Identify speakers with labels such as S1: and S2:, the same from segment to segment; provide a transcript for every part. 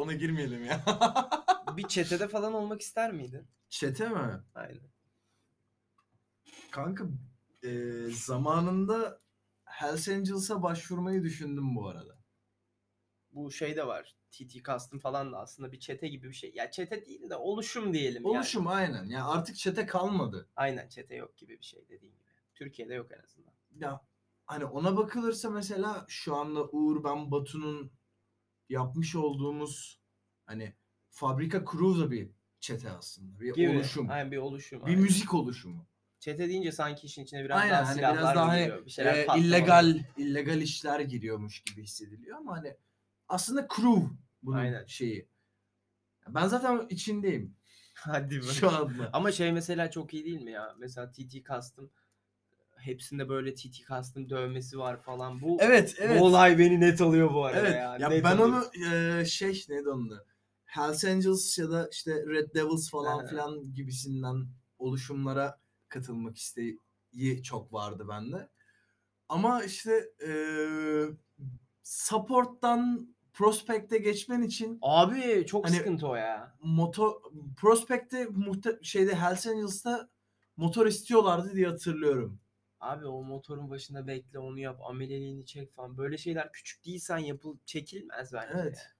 S1: ona girmeyelim ya.
S2: Bir çetede falan olmak ister miydin?
S3: Çete mi?
S2: Aynen.
S3: Kanka e, zamanında Hells Angels'a başvurmayı düşündüm bu arada.
S2: Bu şey de var. TT Custom falan da aslında bir çete gibi bir şey. Ya çete değil de oluşum diyelim
S3: Oluşum aynen. Ya artık çete kalmadı.
S2: yani. Aynen çete yok gibi bir şey dediğin gibi. Türkiye'de yok en azından.
S3: Ya hani ona bakılırsa mesela şu anda Uğur ben Batu'nun yapmış olduğumuz hani fabrika crew da bir çete aslında. Bir
S2: Gibi.
S3: oluşum.
S2: Aynen bir oluşum.
S3: Bir
S2: aynen.
S3: müzik oluşumu.
S2: Çete deyince sanki işin içine biraz
S3: Aynen,
S2: daha
S3: hani
S2: silahlar
S3: biraz daha
S2: mı
S3: hani,
S2: giriyor? Bir şeyler
S3: Ee,
S2: patlamalı.
S3: illegal illegal işler giriyormuş gibi hissediliyor ama hani aslında crew bunun
S2: Aynen.
S3: şeyi. Ben zaten içindeyim
S2: Hadi be.
S3: şu anda.
S2: Ama şey mesela çok iyi değil mi ya? Mesela TT Custom hepsinde böyle TT Custom dövmesi var falan. Bu,
S3: Evet, evet.
S2: bu olay beni net alıyor bu arada
S3: evet.
S2: ya.
S3: Ya,
S2: Net
S3: ben
S2: alıyor.
S3: onu e, şey neydi onun adı? Hells Angels ya da işte Red Devils falan
S2: Aha.
S3: filan gibisinden oluşumlara katılmak isteği çok vardı bende. Ama işte e, support'tan prospect'e geçmen için
S2: Abi çok
S3: Hani-
S2: sıkıntı o ya.
S3: motor Prospect'te muhte şeyde Hells Angels'ta motor istiyorlardı diye hatırlıyorum.
S2: Abi o motorun başında bekle onu yap ameliyeliğini çek falan. Böyle şeyler küçük değilsen yapıl çekilmez bence.
S3: Evet.
S2: ya.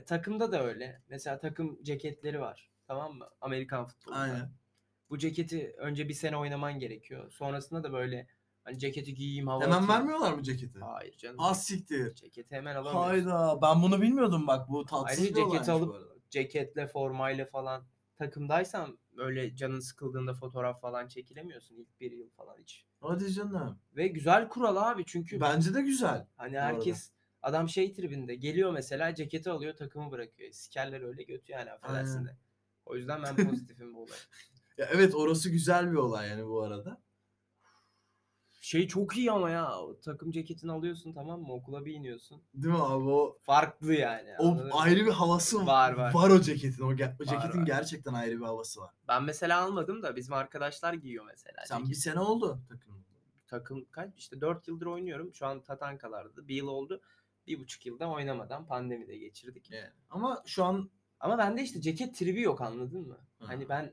S2: Ve takımda da öyle. Mesela takım ceketleri var. Tamam mı? Amerikan futbolunda.
S3: Aynen.
S2: Bu ceketi önce bir sene oynaman gerekiyor. Sonrasında da böyle hani ceketi giyeyim hava
S3: Hemen
S2: atayım.
S3: vermiyorlar mı ceketi?
S2: Hayır canım.
S3: Az siktir.
S2: Ceketi hemen alamıyorsun.
S3: Hayda ben bunu bilmiyordum bak bu tatsız
S2: Ayrıca
S3: bir
S2: ceketi
S3: olaymış bu
S2: alıp
S3: arada.
S2: ceketle formayla falan takımdaysan öyle canın sıkıldığında fotoğraf falan çekilemiyorsun ilk bir yıl falan hiç.
S3: Hadi canım.
S2: Ve güzel kural abi çünkü
S3: Bence de güzel.
S2: hani herkes adam şey tribinde geliyor mesela ceketi alıyor takımı bırakıyor. Sikerler öyle götü yani affedersin
S3: Aynen.
S2: de. O yüzden ben pozitifim bu olay.
S3: Ya evet orası güzel bir olay yani bu arada.
S2: Şey çok iyi ama ya o takım ceketini alıyorsun tamam mı okula bir iniyorsun.
S3: Değil mi abi o,
S2: Farklı yani.
S3: o
S2: anladın mı?
S3: ayrı bir havası
S2: Var, var.
S3: o ceketin. O, ge- o ceketin
S2: var.
S3: gerçekten ayrı bir havası var.
S2: Ben mesela almadım da bizim arkadaşlar giyiyor mesela.
S3: Sen
S2: ceket.
S3: bir sene oldu takımda.
S2: takım kaç işte 4 yıldır oynuyorum. Şu an Tatankalar'da. Bir yıl oldu. Bir buçuk yılda oynamadan pandemi de geçirdik.
S3: Yani. Ama şu an
S2: Ama bende işte ceket tribi yok anladın mı?
S3: Hı.
S2: Hani ben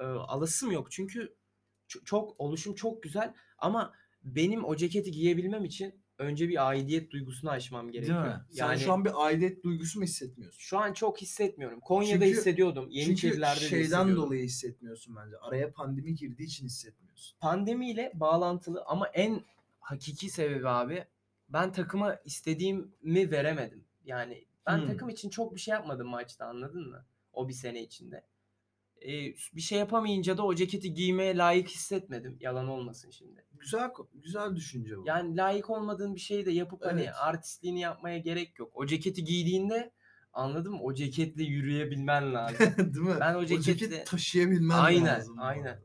S2: e, alasım yok çünkü ç- çok oluşum çok güzel ama benim o ceketi giyebilmem için önce bir aidiyet duygusunu aşmam
S3: değil
S2: gerekiyor.
S3: mi? Sen
S2: yani
S3: şu an bir aidiyet duygusu mu hissetmiyorsun?
S2: şu an çok hissetmiyorum. Konya'da
S3: Çünkü-
S2: hissediyordum. Yeniçerilerde de
S3: Çünkü şeyden
S2: hissediyordum.
S3: dolayı hissetmiyorsun bence. Araya pandemi girdiği için hissetmiyorsun.
S2: pandemiyle bağlantılı ama en hakiki sebebi abi ben takıma istediğimi veremedim. Yani ben
S3: Hmm.
S2: takım için çok bir şey yapmadım maçta anladın mı? O bir sene içinde. Ee, bir şey yapamayınca da o ceketi giymeye layık hissetmedim. Yalan olmasın şimdi.
S3: Güzel ko- güzel düşünce bu.
S2: Yani layık olmadığın bir şeyi de yapıp hani
S3: Evet.
S2: artistliğini yapmaya gerek yok. O ceketi giydiğinde anladın mı? O ceketle yürüyebilmen lazım.
S3: değil mi?
S2: Ben o
S3: O
S2: ceketle-
S3: ceketi taşıyabilmen
S2: Aynen,
S3: lazım. bu
S2: aynen.
S3: arada.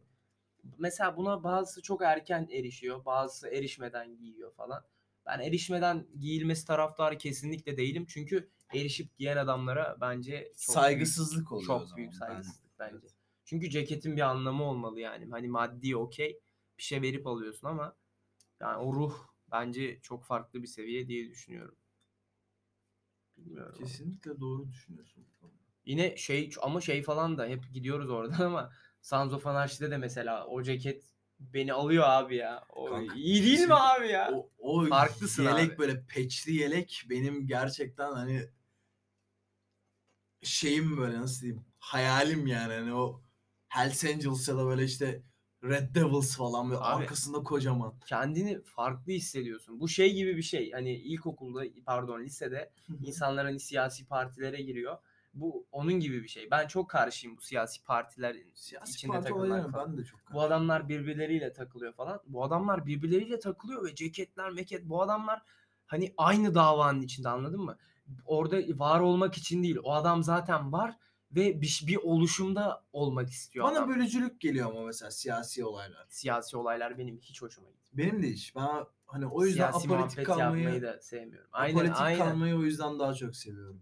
S2: mesela buna bazısı çok erken erişiyor, bazısı erişmeden giyiyor falan. Ben erişmeden giyilmesi taraftarı kesinlikle değilim. Çünkü erişip giyen adamlara bence çok
S3: Saygısızlık
S2: büyük,
S3: oluyor o
S2: çok
S3: zaman
S2: büyük
S3: bence.
S2: saygısızlık bence.
S3: Evet.
S2: Çünkü ceketin bir anlamı olmalı yani. Hani maddi okey bir şey verip alıyorsun ama yani o ruh bence çok farklı bir seviye diye düşünüyorum. Bilmiyorum. ama.
S3: Kesinlikle doğru düşünüyorsun. bu konuda.
S2: Yine şey ama şey falan da hep gidiyoruz oradan ama Sons of Anarchy'de de mesela o ceket beni alıyor abi ya. O
S3: Kanka,
S2: iyi değil mi
S3: kesinlikle.
S2: abi ya?
S3: O, o
S2: Farklısın
S3: yelek
S2: abi.
S3: böyle peçli yelek benim gerçekten hani şeyim böyle nasıl diyeyim hayalim yani hani o Hells Angels ya da böyle işte Red Devils falan böyle
S2: Abi.
S3: arkasında kocaman.
S2: Kendini farklı hissediyorsun. Bu şey gibi bir şey. Hani ilkokulda pardon lisede insanlar hani siyasi partilere giriyor. Bu onun gibi bir şey. Ben çok karşıyım bu siyasi partilerin
S3: Siyasi
S2: içinde
S3: parti
S2: takılan
S3: olaylarına
S2: falan.
S3: ben de çok
S2: Bu adamlar birbirleriyle takılıyor falan. Bu adamlar birbirleriyle takılıyor ve ceketler, meket bu adamlar hani aynı davanın içinde anladın mı? Orada var olmak için değil. O adam zaten var ve bir, bir oluşumda olmak istiyor
S3: Bana
S2: adam.
S3: bölücülük geliyor ama mesela siyasi olaylar.
S2: Siyasi olaylar benim hiç hoşuma gitmiyor.
S3: Benim de hiç. Ben hani o yüzden
S2: Siyasi
S3: apolitik
S2: muhabbet yapmayı
S3: kalmayı,
S2: da sevmiyorum. Aynen
S3: apolitik
S2: aynen.
S3: kalmayı o yüzden daha çok seviyorum.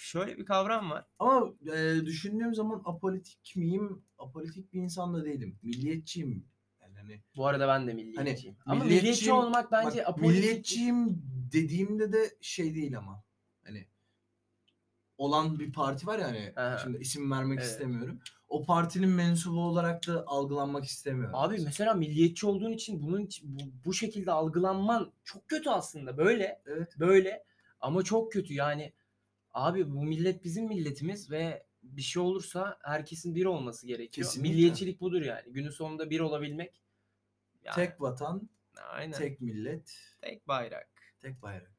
S2: Şöyle bir kavram var.
S3: Ama e, düşündüğüm zaman apolitik miyim? Apolitik bir insan da değilim. Milliyetçiyim. Yani hani,
S2: Bu arada ben de milliyetçiyim. Ama
S3: milliyetçiyim-
S2: milliyetçi olmak bence
S3: Hani bak,
S2: apolitik.
S3: milliyetçiyim dediğimde de şey değil ama. Hani olan bir parti var ya hani
S2: Aha.
S3: şimdi isim vermek
S2: Evet.
S3: istemiyorum. O partinin mensubu olarak da algılanmak istemiyorum.
S2: Abi mesela milliyetçi olduğun için bunun için- bu, bu şekilde algılanman çok kötü aslında. Böyle.
S3: Evet.
S2: Böyle ama çok kötü yani. Abi bu millet bizim milletimiz ve bir şey olursa herkesin bir olması gerekiyor.
S3: Kesinlikle.
S2: Milliyetçilik budur yani. Günün sonunda bir olabilmek. Yani,
S3: tek vatan,
S2: aynen.
S3: tek millet,
S2: tek bayrak.
S3: tek bayrak.